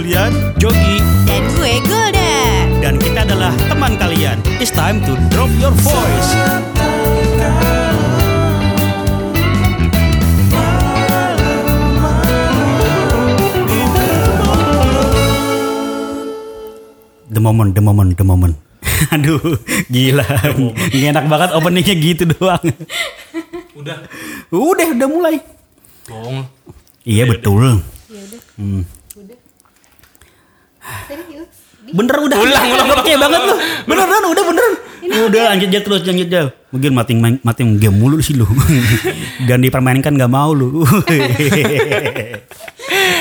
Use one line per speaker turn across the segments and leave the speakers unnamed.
Aryan, Jogi,
Dan gue Golda.
dan kita adalah teman kalian. It's time to drop your voice. The moment, the moment, the moment. Aduh, gila. Nggak enak banget openingnya gitu doang.
Udah.
Udah, udah mulai.
Bohong.
Iya betul. Hmm.
Serius?
Bener udah.
Ulang, ulang, ulang,
Oke
ulang,
banget lu. Beneran udah beneran. udah lanjut aja terus lanjut aja. Mungkin mati main- mati game mulu sih lu. Dan dipermainkan gak mau lu.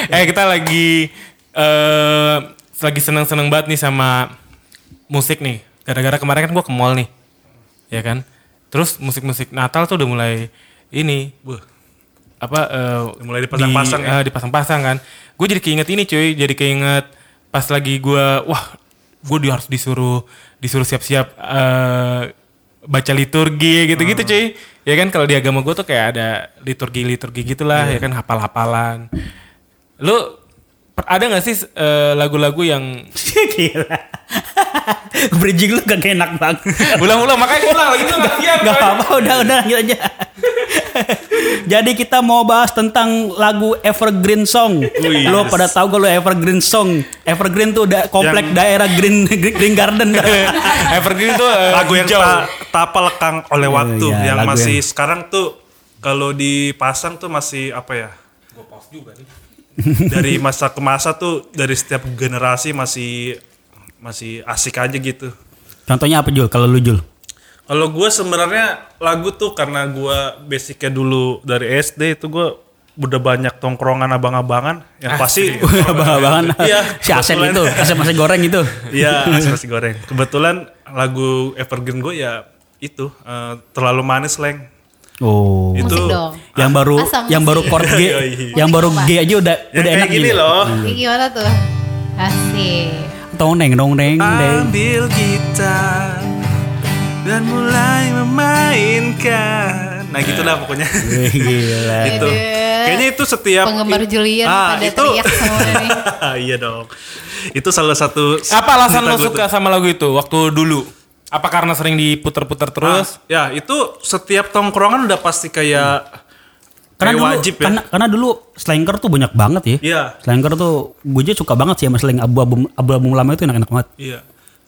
Eh kita lagi eh lagi seneng-seneng banget nih sama musik nih. Gara-gara kemarin kan gua ke mall nih. Ya kan? Terus musik-musik Natal tuh udah mulai ini. Wah. Apa eh,
mulai dipasang-pasang
di-
ya?
eh, dipasang-pasang kan. Gue jadi keinget ini cuy, jadi keinget pas lagi gua wah, gue di harus disuruh disuruh siap-siap eh baca liturgi gitu-gitu cuy. Ya kan kalau di agama gue tuh kayak ada liturgi-liturgi gitulah, ya kan hafal-hafalan. Lu per- ada gak sih eh, lagu-lagu yang
Gila. Bridging lu gak enak banget.
ulang-ulang makanya ulang lagi tuh latihan.
Gak apa-apa udah udah lanjut aja. Jadi kita mau bahas tentang lagu Evergreen Song. Lo pada tahu gak lo Evergreen Song? Evergreen tuh da- komplek
Yang-
daerah Green Green Garden.
Evergreen tuh eh,
lagu yang
hijau.
tak tak pelekang oleh waktu
Iya,
yang
lagu
masih sekarang tuh kalau dipasang tuh masih apa ya dari masa ke masa tuh dari setiap generasi masih masih asik aja gitu
Contohnya apa Jul? Kalau lu Jul?
kalau gue sebenarnya lagu tuh karena gue basicnya dulu dari SD itu gue udah banyak tongkrongan abang-abangan yang pasti
Abang-abangan.
Iya,
si Asep
kebetulan.
itu, Asep masih goreng itu.
Iya, asam nasi goreng. Kebetulan lagu Evergreen gue ya itu eh, terlalu manis leng.
Oh.
Itu
Musik dong.
Yang baru
Asam
yang baru
sih.
chord G,
Iya, iya, iya.
yang baru G aja udah
yang
udah
kayak
enak gitu. ya?
gini loh.
Ini gimana tuh? Asik.
Toneng dong neng neng.
Ambil gitar dan mulai memainkan. Nah gitulah pokoknya.
Wih, Gila.
gitu.
Aduh.
Kayaknya itu setiap
Penggemar Julian pada teriak semua nih.
iya dong. Itu salah satu
Apa alasan
cerita
lo
gua tuh.
suka sama lagu itu waktu dulu? Apa karena sering diputer-puter terus?
Ah, ya itu setiap tongkrongan udah pasti kayak
Karena
kayak
dulu, kan
wajib ya.
karena, karena dulu Slanker tuh banyak banget ya.
Iya.
Slanker tuh gue aja suka banget sih sama Slank album album, album lama itu enak-enak banget.
Iya.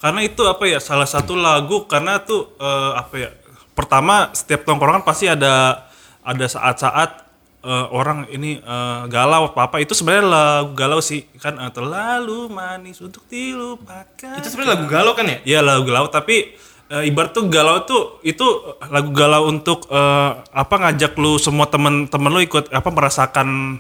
Karena itu apa ya salah satu lagu karena tuh eh, apa ya pertama setiap tongkrongan kan pasti ada ada saat-saat eh, orang ini eh, galau apa apa itu sebenarnya lagu galau sih kan eh, terlalu manis untuk
Ah,
dilupakan.
Itu sebenarnya lagu galau kan ya?
Iya lagu galau tapi eh, ibarat tuh galau tuh itu eh, lagu galau untuk eh, apa ngajak lu semua temen-temen lu ikut apa merasakan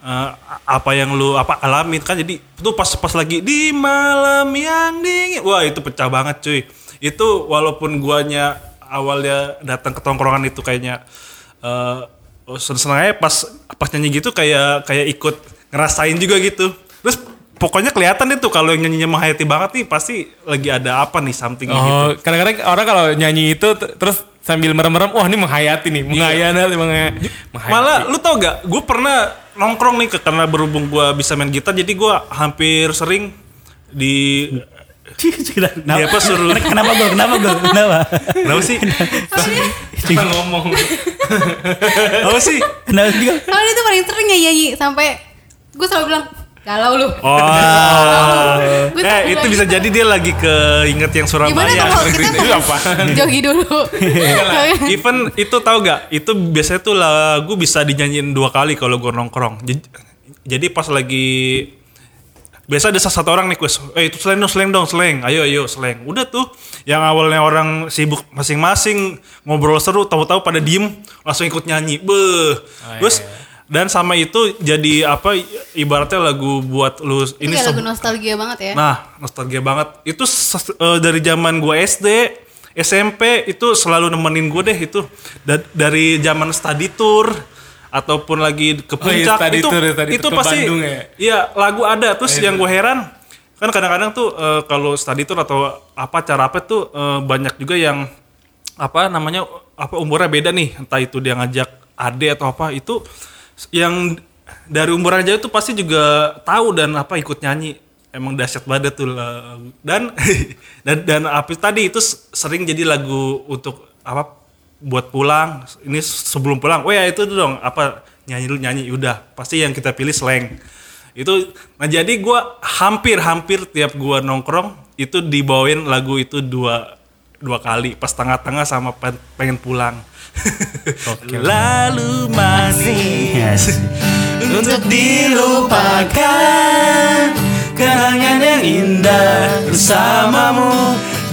eh, apa yang lu apa alamin kan jadi tuh pas pas lagi di malam yang dingin wah itu pecah banget cuy itu walaupun guanya awalnya datang ke tongkrongan itu kayaknya eh seneng aja pas pas nyanyi gitu kayak kayak ikut ngerasain juga gitu terus pokoknya kelihatan itu kalau yang nyanyinya menghayati banget nih pasti lagi ada apa nih something gitu
Oh, kadang-kadang orang kalau nyanyi itu t- terus sambil merem-merem, wah ini menghayati nih, menghayati, menghay- Iya. menghayati.
malah lu tau gak gue pernah nongkrong nih ke- karena berhubung gue bisa main gitar jadi gue hampir sering di
Dia
apa Iya, suruh-
Kenapa gue? Kenapa gue? Kenapa?
kenapa sih
Kita ngomong.
apa sih
Kenapa juga?
Kalau dia tuh paling sering nyanyi sampai gue selalu bilang galau lu.
Oh.
oh
Gua
eh
takut
itu
lagi.
bisa jadi dia lagi keinget yang
Gimana
Surabaya
kalau kita
Itu apaan?
bahas jogi dulu?
Iya
Iya.
Even itu tahu gak? Itu biasanya tuh lagu bisa dinyanyiin dua kali kalau gue nongkrong. Jadi, jadi pas lagi biasa ada salah satu orang nih kuis, eh itu slang dong, slang dong, slang, ayo ayo slang. Udah tuh, yang awalnya orang sibuk masing-masing ngobrol seru, tahu-tahu pada diem langsung ikut nyanyi, beh. Terus dan sama itu jadi apa? Ibaratnya lagu buat lu
Ini kayak
ini se-
Iya, lagu nostalgia banget ya.
Nah, nostalgia banget. Itu ses- eh, dari zaman gua SD, SMP itu selalu nemenin gue deh itu. Da- dari zaman study tour ataupun lagi ke
Oh iya,
puncak
study
itu
tour ya, study
itu
tour ke
pasti
Bandung ya.
iya lagu ada terus yang gue heran kan kadang-kadang tuh eh, kalau study tour atau apa cara apa tuh eh, banyak juga yang apa namanya apa umurnya beda nih entah itu dia ngajak ade atau apa itu yang dari umur aja itu pasti juga tahu dan apa ikut nyanyi emang dahsyat banget tuh lagu. dan dan dan Apis tadi itu s- sering jadi lagu untuk apa buat pulang ini sebelum pulang oh ya itu dong apa nyanyi dulu nyanyi udah pasti yang kita pilih slang itu nah jadi gua hampir hampir tiap gua nongkrong itu dibawain lagu itu dua dua kali pas tengah-tengah sama pen- pengen pulang lalu
Ya
manis untuk dilupakan kenangan yang indah bersamamu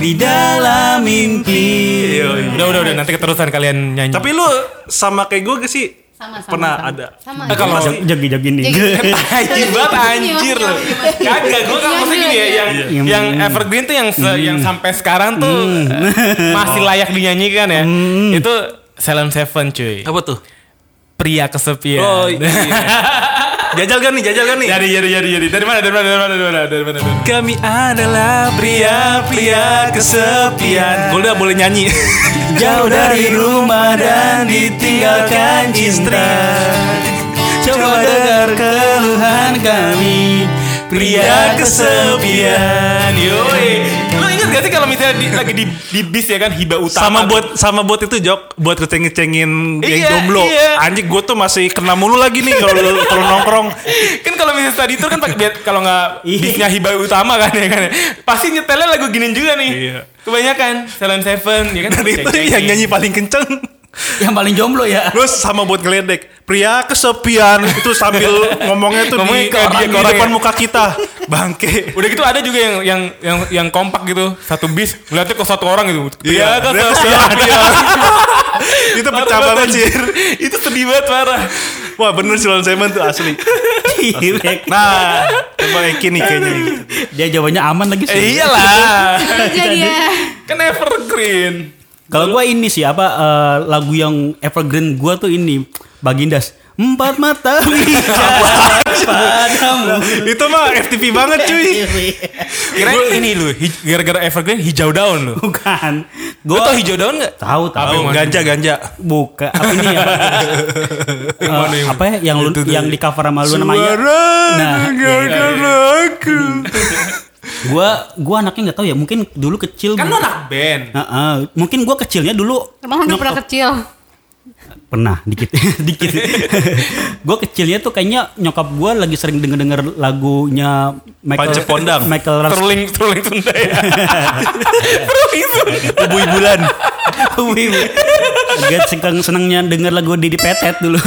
di dalam mimpi
Udah udah udah nanti keterusan kalian nyanyi.
tapi lu sama kayak gue sih
Sama, sama,
pernah
sama.
ada
Sama.
Eh, kalau
Jog- jogi-jogi nih.
iya.
Jogi.
Anjir banget anjir loh. Kagak gue kan maksudnya gini ya yang
Iya.
iya, yang Mm. evergreen tuh yang se- yang sampai sekarang tuh eh, masih layak dinyanyikan ya. Itu Salem Seven cuy.
apa tuh
Pria kesepian.
oh iya. jajal gak nih jajal gak nih
Jadi jadi jadi jadi dari mana dari mana dari mana dari mana dari mana dari mana?
kami adalah pria-pria kesepian. Gue udah boleh nyanyi.
Jauh dari rumah dan
ditinggalkan cinta.
Coba dengar keluhan kami
Pria kesepian.
Yoi. Lo inget gak sih kalau misalnya di- lagi di, di bis ya kan hiba utama
Sama
tuh.
buat sama buat itu jok buat ngecengin yang
Iya,
jomblo.
iya.
Anjing gue tuh masih kena mulu lagi nih kalau kalau nongkrong.
kan kalau misalnya study tour kan pakai biar- kalau nggak
Iya.
bisnya hibah utama kan ya kan pasti nyetelnya lagu ginin juga nih
Iya.
kebanyakan Salon Seven ya kan
Dan itu yang nyanyi paling kenceng.
Yang paling jomblo ya.
Terus sama buat ngeledek Pria kesepian Itu sambil ngomongnya tuh
Ngomongin
di,
ke orang,
di-
ke
di
orang
depan
ya.
muka kita Bangke
udah gitu ada juga yang yang yang yang kompak gitu satu bis ngeliatnya ke satu orang gitu
Iya,
Pria
pria
kesepian.
Itu pecah
Parah
banget sih
anjir. itu sedih banget parah Iya.
Wah bener sih Lon Simon tuh asli Nah Coba Eki nih kayaknya nih.
Dia jawabannya aman lagi
eh,
sih.
iyalah
Aja dia.
kan evergreen
Kalau gua ini sih apa eh, lagu yang evergreen gua tuh ini Bagindas. Empat mata bicara padamu.
Itu mah FTV banget cuy
kira ini lu hij- gara-gara evergreen hijau daun lu
Bukan.
Lu
Gua
tau hijau daun gak?
tahu tahu.
Oh, Ganja ganja
Buka apa ini ya? Pak? Eh, apa ya yang lu, yang di cover sama lu namanya?
Suara
iya,
Nah,
dengarkan aku
Gua gua anaknya nggak tahu ya, mungkin dulu kecil
kan
gua-
lu anak band
Heeh, mungkin gua kecilnya dulu
Emang udah pernah kecil.
pernah dikit dikit. gua kecilnya tuh kayaknya nyokap gua lagi sering denger-denger lagunya Michael
Panci Pondang.
Michael Rans-
Truling, truling Sunda ya. truling Sunda.
Ibu-ibulan
Wih, wih. Gak sekeng senengnya denger lagu Didi Petet dulu.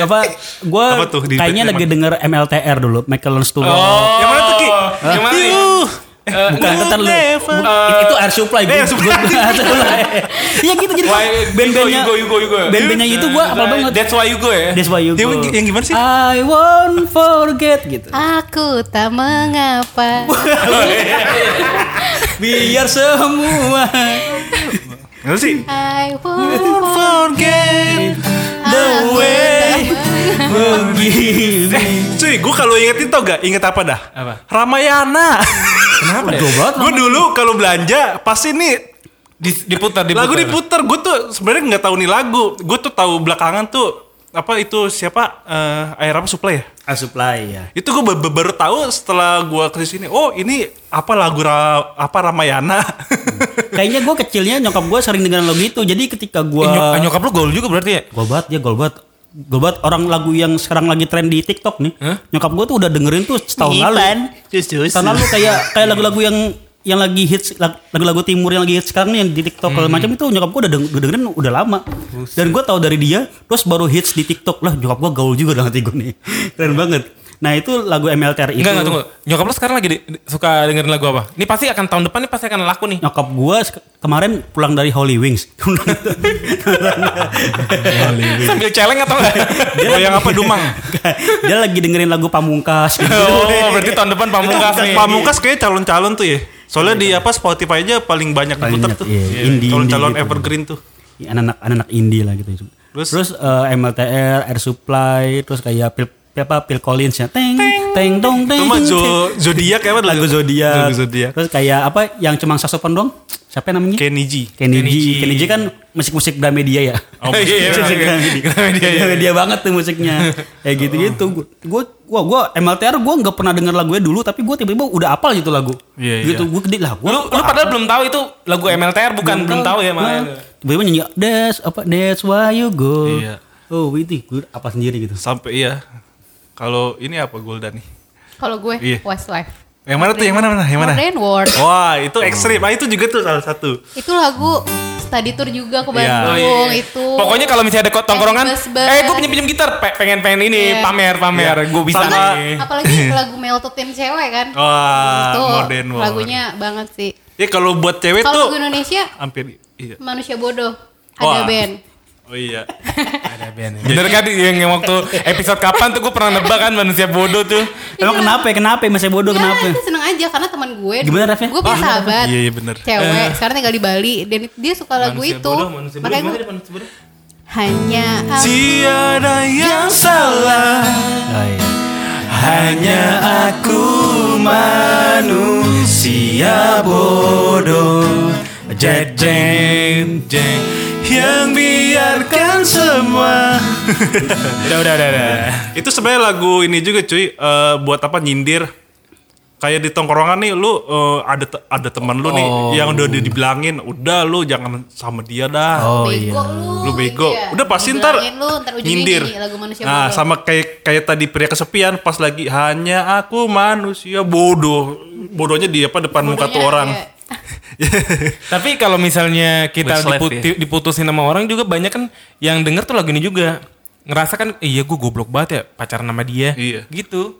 apa gue
Apa tuh Didi
kayaknya
Petet
lagi denger MLTR dulu Michael Learns to Rock.
Oh,
Yang mana tuh, Ki?
Yang mana? nih? Eh,
bukan ntar lu
never.
Bu- itu air supply gue
Air Supply.
ya gitu jadi
Why-
band-bandnya
Hugo, Hugo, Hugo.
band-bandnya itu gue apa banget
That's why you go ya.
that's why you
Dia
go
yang gimana sih?
I won't forget gitu
Aku tak mengapa.
biar semua
Gimana sih?
I won't
Forget
the way Gitu.
Cuy, gue kalau inget itu tau gak? Inget apa dah?
Apa?
Ramayana.
kenapa banget
gue dulu kalau belanja pasti nih
Di- diputar, diputar.
lagu diputar. Gue tuh sebenarnya nggak tahu nih lagu. Gue tuh tahu belakangan tuh apa itu siapa eh air apa supply ya?
air supply ya
Itu gue baru tahu setelah gue ke sini. Oh ini apa lagu ra- apa Ramayana?
Kayaknya gue kecilnya nyokap gue sering dengerin lagu itu. Jadi ketika gue
Eh, nyok- nyokap lu gaul juga berarti ya?
golbat ya golbat golbat orang lagu yang sekarang lagi tren di TikTok nih. Nyokap gue tuh udah dengerin tuh setahun
Iya
lalu.
kan?
Setahun lalu kayak kayak lagu-lagu yang yang lagi hits lag- lagu-lagu timur yang lagi hits sekarang nih yang di TikTok
Hmm.
kalau macam itu nyokap gue udah, deng- udah dengerin udah lama. Dan gue tahu dari dia terus baru hits di TikTok lah nyokap gue gaul juga dengan hati gue nih. Keren banget. Nah itu lagu MLTR itu.
Enggak, enggak, tunggu. Nyokap lu sekarang lagi di- di- suka dengerin lagu apa? Ini pasti akan tahun depan nih pasti akan laku nih.
nyokap gua sek- kemarin pulang dari Holy Wings. Iya.
Sambil celeng atau enggak?
oh yang apa Dumang?
dia lagi dengerin lagu pamungkas gitu.
oh, berarti tahun depan pamungkas nih.
Pamungkas kayaknya calon-calon tuh ya. Soalnya di apa Spotify aja paling banyak
Paling
diputar
banyak,
tuh.
iya. Indie-indie
Calon-calon
gitu.
evergreen tuh.
Ya, anak-anak anak-anak indie lah gitu. Terus,
Terus?
terus eh, MLTR, Air Supply, terus kayak Pil- apa Phil Collins ya teng teng dong teng
Cuma
teng.
zo zodiak ya apa?
lagu zodiak
Lagu
ya.
zodiak.
terus kayak apa yang cuma saksofon dong siapa namanya
Kenny G.
Kenny
Kenny
G.
G.
Kenny G kan musik-musik Gramedia ya.
Oh, musik-
Iya, musik
iya,
Gramedia.
Gramedia, Oh. iya.
Gramedia banget tuh musiknya. Kayak gitu-gitu. Gue gua gua MLTR gue nggak pernah denger lagunya dulu tapi gue tiba-tiba udah apal gitu lagu.
Iya, iya.
Gitu gue gede lah gua.
Lu, lu padahal belum tahu itu lagu MLTR bukan belum tahu ya
malah.
malah.
Tiba-tiba nyanyi that's apa that's why you go.
Iya.
Oh, itu gue apa sendiri gitu.
Sampai iya. Kalau ini apa Golda nih?
Kalau gue
Iya.
Westlife.
Yang mana tuh? Yang mana mana? Yang mana?
Modern World.
Wah, itu ekstrim. Ah, itu juga tuh salah satu.
Itu lagu study tour juga ke Bandung
Oh,
itu.
iya. Pokoknya kalau misalnya ada ko- tongkrongan,
bus-bus.
eh gue punya pinjam gitar, Pe- pengen pengen ini
Iya.
pamer pamer, gue bisa
Sama-
nih.
Kan apalagi lagu meltotin cewek kan.
Wah,
itu
Oh, iya, Modern World.
lagunya banget sih.
Ya kalau buat cewek
Kalau lagu
tuh
Indonesia
hampir iya.
manusia bodoh
Wah.
ada band.
Oh iya.
Bener kan yang, yang waktu episode kapan tuh gue pernah nebak kan manusia bodoh tuh.
Emang kenapa ya? Kenapa ya? Masih bodoh
Ya,
kenapa?
itu seneng aja karena teman gue.
Gimana, Rafnya?
Gue punya
Ah,
sahabat.
ya? Iya, iya, bener.
Cewek, sekarang tinggal di Bali dan dia suka lagu
Manusia
itu.
bodoh, manusia bodoh.
Makanya
Gimana
gue
tadi manusia bodoh?
hanya
Tiada yang salah
Oh, iya.
Hanya aku manusia bodoh Jeng jeng jeng Yang biarkan semua
Udah udah udah. udah.
Itu sebenarnya lagu ini juga cuy eh, Buat apa nyindir Kayak di tongkrongan nih lu eh, ada te- ada teman lu nih
Oh.
yang udah dibilangin udah lu jangan sama dia dah.
Oh,
bego
iya.
lu.
lu bego.
gitu ya.
Udah pasti ntar
Dibilangin lu, ntar ujungnya
nyindir.
nyanyi lagu manusia
nah,
bodoh.
sama kayak kayak tadi pria kesepian pas lagi hanya aku manusia bodoh. Bodohnya di apa depan
Bodohnya
muka
iya.
tuh orang.
kayak-
Tapi kalau misalnya kita
Westlife
diput-
ya.
diputusin sama orang juga banyak kan yang denger tuh lagu ini juga ngerasa kan iya gue goblok banget ya pacaran sama dia.
Iya.
Gitu.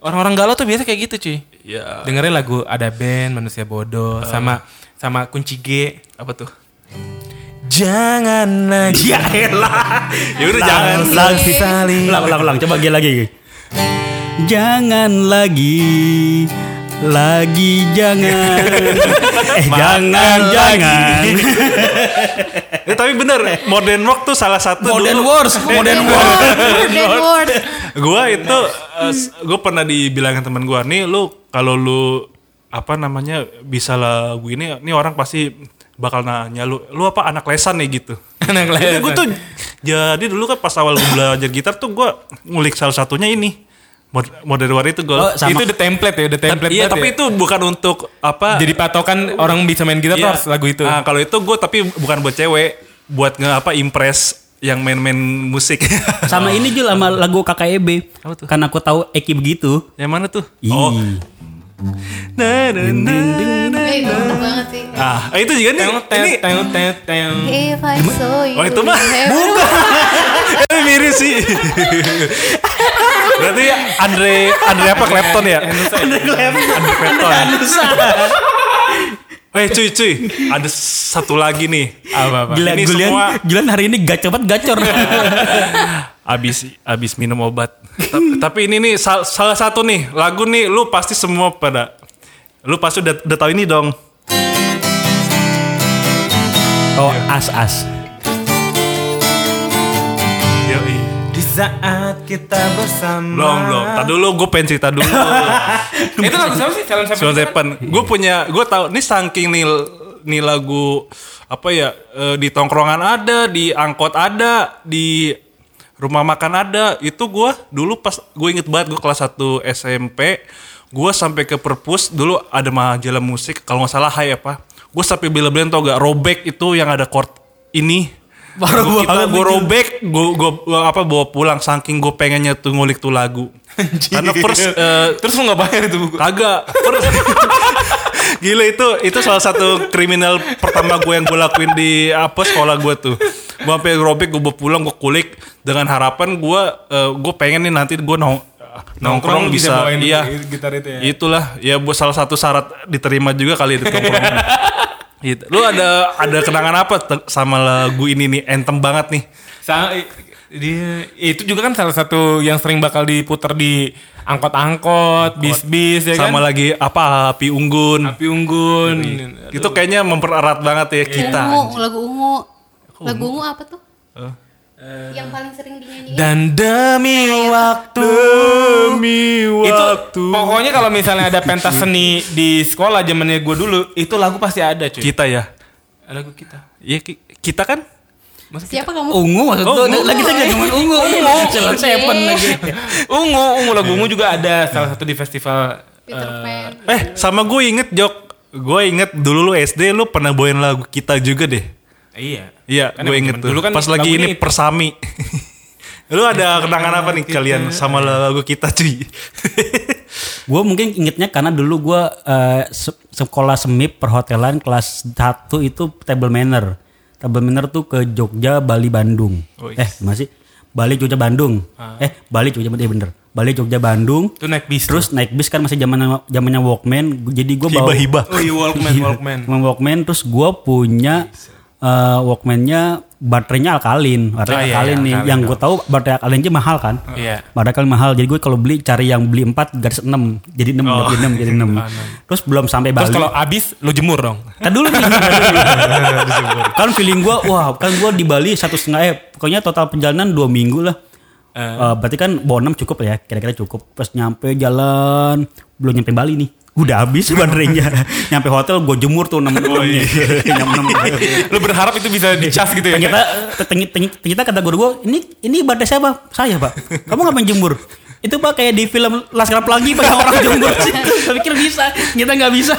Orang-orang galau tuh biasa kayak gitu cuy.
Iya. Ah.
Dengerin lagu ada band manusia bodoh sama sama kunci G
Apa tuh?
jangan lagi
Ya elah.
Ya udah jangan.
Ulang, ulang, ulang, ulang. Coba lagi lagi. Jangan lagi, lagi jangan. eh jangan, jangan.
Eh, tapi bener Modern Rock tuh salah satu
Modern
dulu.
Wars, Modern Wars.
Modern World.
Gua itu gue pernah dibilangin teman gua nih lu kalau lu apa namanya bisa lagu ini ini orang pasti bakal nanya lu lu apa anak lesan nih gitu.
anak
Jadi
leher.
gue tuh jadi dulu kan pas awal gue belajar gitar tuh gue ngulik salah satunya ini Mod- modern war itu gue.
Oh, sama.
Itu udah template ya, udah template
iya
banget
tapi
ya.
itu bukan untuk apa?
jadi patokan orang bisa main gitar tuh
iya.
harus lagu itu.
Ah, kalau itu gue tapi bukan buat cewek, buat nge apa impress yang main-main musik.
Sama ini juga sama lagu KKEB.
Apa tuh?
Karena aku tahu Eki begitu.
yang mana tuh?
Ih.
Oh. Na, na, na, na.
Eh, bener banget sih.
Ah, itu juga nih.
Teng, teng,
Ini
teng, teng, teng.
If I saw you
Oh, itu mah.
in heaven.
Eh, miris sih. Berarti ya, Andre Andre apa Clapton ya? Andre Clapton. Andre Clapton. Eh cuy cuy, ada satu lagi nih.
Apa-apa.
Gila,
Ini
Julian,
semua Iya.
Julian hari ini gacor banget gacor.
abis abis Ah, minum obat. Ta- Tapi ini nih sal- salah satu nih lagu nih, lu pasti semua pada, lu pasti udah, udah tahu ini dong.
oh, as-as.
Yoi.
Di saat kita bersama.
Belum belum. Tadi dulu gue pengen cerita dulu.
Itu lagu siapa sih? Calon siapa?
Soul Gue punya, gue tahu nih saking nih nih lagu apa ya eh, di tongkrongan ada, di angkot ada, di rumah makan ada. Itu gue dulu pas gue inget banget gue kelas 1 SMP, gue sampai ke perpus dulu ada majalah musik kalau nggak salah Hai apa. Gue sampai bela-belain tau gak robek itu yang ada chord ini.
Baru
Gua- kita-
banget
gua
nih.
robek, gue apa bawa pulang saking gue pengennya tuh ngulik tuh lagu. Karena first eh,
Terus lu gak bayar itu buku?
Kagak. Per- Gila itu itu salah satu kriminal pertama gue yang gue lakuin di apa sekolah gue tuh. Gue sampai robek, gue bawa pulang, gue kulik dengan harapan gue eh, gue pengen nih nanti gue nong nongkrong bisa,
bawain
iya
gitar itu ya.
itulah ya buat salah satu syarat diterima juga kali di nongkrongan. gitu. Lu ada ada kenangan apa te- sama lagu ini nih entem banget nih?
Sa- i- dia itu juga kan salah satu yang sering bakal diputar di angkot-angkot, bis-bis ya
sama Iya.
kan.
lagi apa api unggun.
Api unggun.
Itu
Iya.
kayaknya mempererat banget ya kita.
ungu, lagu ungu. Lagu ungu apa tuh?
Eh,
yang paling sering dinyanyiin
Dan demi waktu.
Demi
Itu
waktu.
pokoknya kalau misalnya ada pentas seni di sekolah zamannya gue dulu, itu lagu pasti ada cuy.
Kita ya.
Lagu kita.
Iya ki- kita kan
siapa kamu
Ungu maksud
Oh,
tuh
ungu. Iya.
lagi lagi ngomongin ungu. Ungu. Celan seven lagi.
Ungu, ungu lagu ungu juga ada salah satu di festival
Peter Pan
eh sama gue inget Jok. Gue inget dulu lu SD lu pernah bawain lagu kita juga deh.
Iya.
Iya,
Kan
gue
emang
inget
zaman
tuh.
Dulu kan
Pas lagi
lagunya
ini persami. lu ada kenangan apa nih kalian sama lagu kita cuy?
Gue mungkin ingetnya karena dulu gue eh, se- sekolah semip perhotelan kelas 1 itu table manner. Table manner tuh ke Jogja, Bali, Bandung. eh masih Bali, Jogja, Bandung.
Ah.
Eh Bali, Jogja, Bandung. Iya bener. Bali, Jogja, Bandung.
itu naik bis.
Terus naik bis kan masih zaman zamannya Walkman. Jadi gue bawa
Hibah-hibah.
Oh iya Walkman, Walkman.
Cuma Walkman terus gue punya eh, Walkmannya baterainya alkalin, baterai
Oh, iya,
alkalin
iya,
nih.
alkalin
Yang gue tahu baterai alkalin aja mahal kan.
Iya.
Baterai alkalin mahal. Jadi gue kalau beli cari yang beli 4 garis 6 jadi 6 jadi 6 jadi 6. Terus belum sampai Bali.
Oh. Terus kalau abis lu jemur dong.
kan dulu nih. kan feeling gue wah kan gue di Bali satu setengah eh pokoknya total perjalanan dua minggu lah. Eh, berarti kan bawa 6 cukup lah ya kira-kira cukup pas nyampe jalan belum nyampe Bali nih udah habis baterainya nyampe hotel gue jemur tuh 6 enamnya
lu berharap itu bisa dicas gitu ya.
ternyata ternyata- ternyata kata guru gue ini ini badan saya pak saya pak kamu ngapain jemur itu pak kayak di film Laskar Pelangi pak orang jemur sih Saya pikir bisa ternyata nggak bisa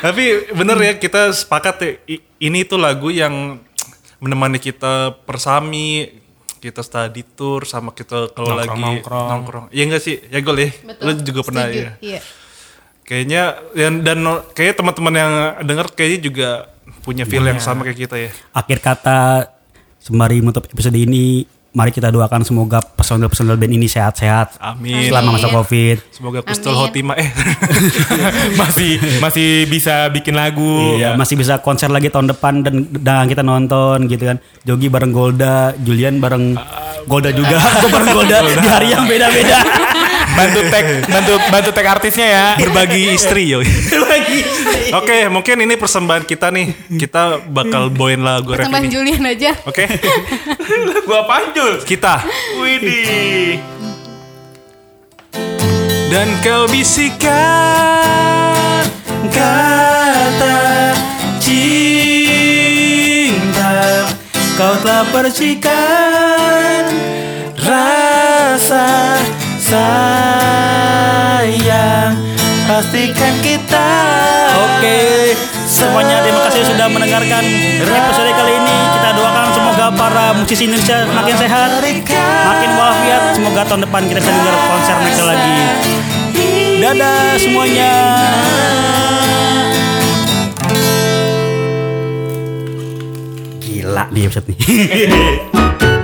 Tapi bener ya kita sepakat ya, i- ini tuh lagu yang menemani kita persami, kita study tour sama kita kalau lagi
Nongkrong-nongkrong.
nongkrong. Iya enggak sih? Ya Gol ya.
betul
Lu juga pernah
Setuju.
ya.
iya
Kayaknya dan dan no- kayaknya teman-teman yang denger kayaknya juga punya feel yang sama kayak kita ya.
akhir kata sembari menutup episode ini mari kita doakan semoga personel-personel band ini sehat-sehat
Amin.
selama masa
Amin.
covid
Semoga Kustul
Amin.
Hotima eh
masih masih bisa bikin lagu.
Iya, masih bisa konser lagi tahun depan dan dan kita nonton gitu kan. Jogi bareng Golda, Julian bareng Golda juga, Gua bareng Golda di hari yang beda-beda.
Bantu tag bantu bantu tag artisnya ya.
berbagi istri yo.
Lagi.
Oke, mungkin ini persembahan kita nih. Kita bakal bawain lagu rap
persembahan
ini.
Julian aja
Oke,
Gua panjul.
kita
Widih.
dan kau bisikan
Kata cinta kau telah percikan rasa sayang pastikan kita oke semuanya terima kasih sudah mendengarkan episode kali ini kita doakan semoga para musisi Indonesia makin sehat makin walafiat semoga tahun depan kita bisa dengar konser mereka lagi dadah semuanya Gila di episode ini.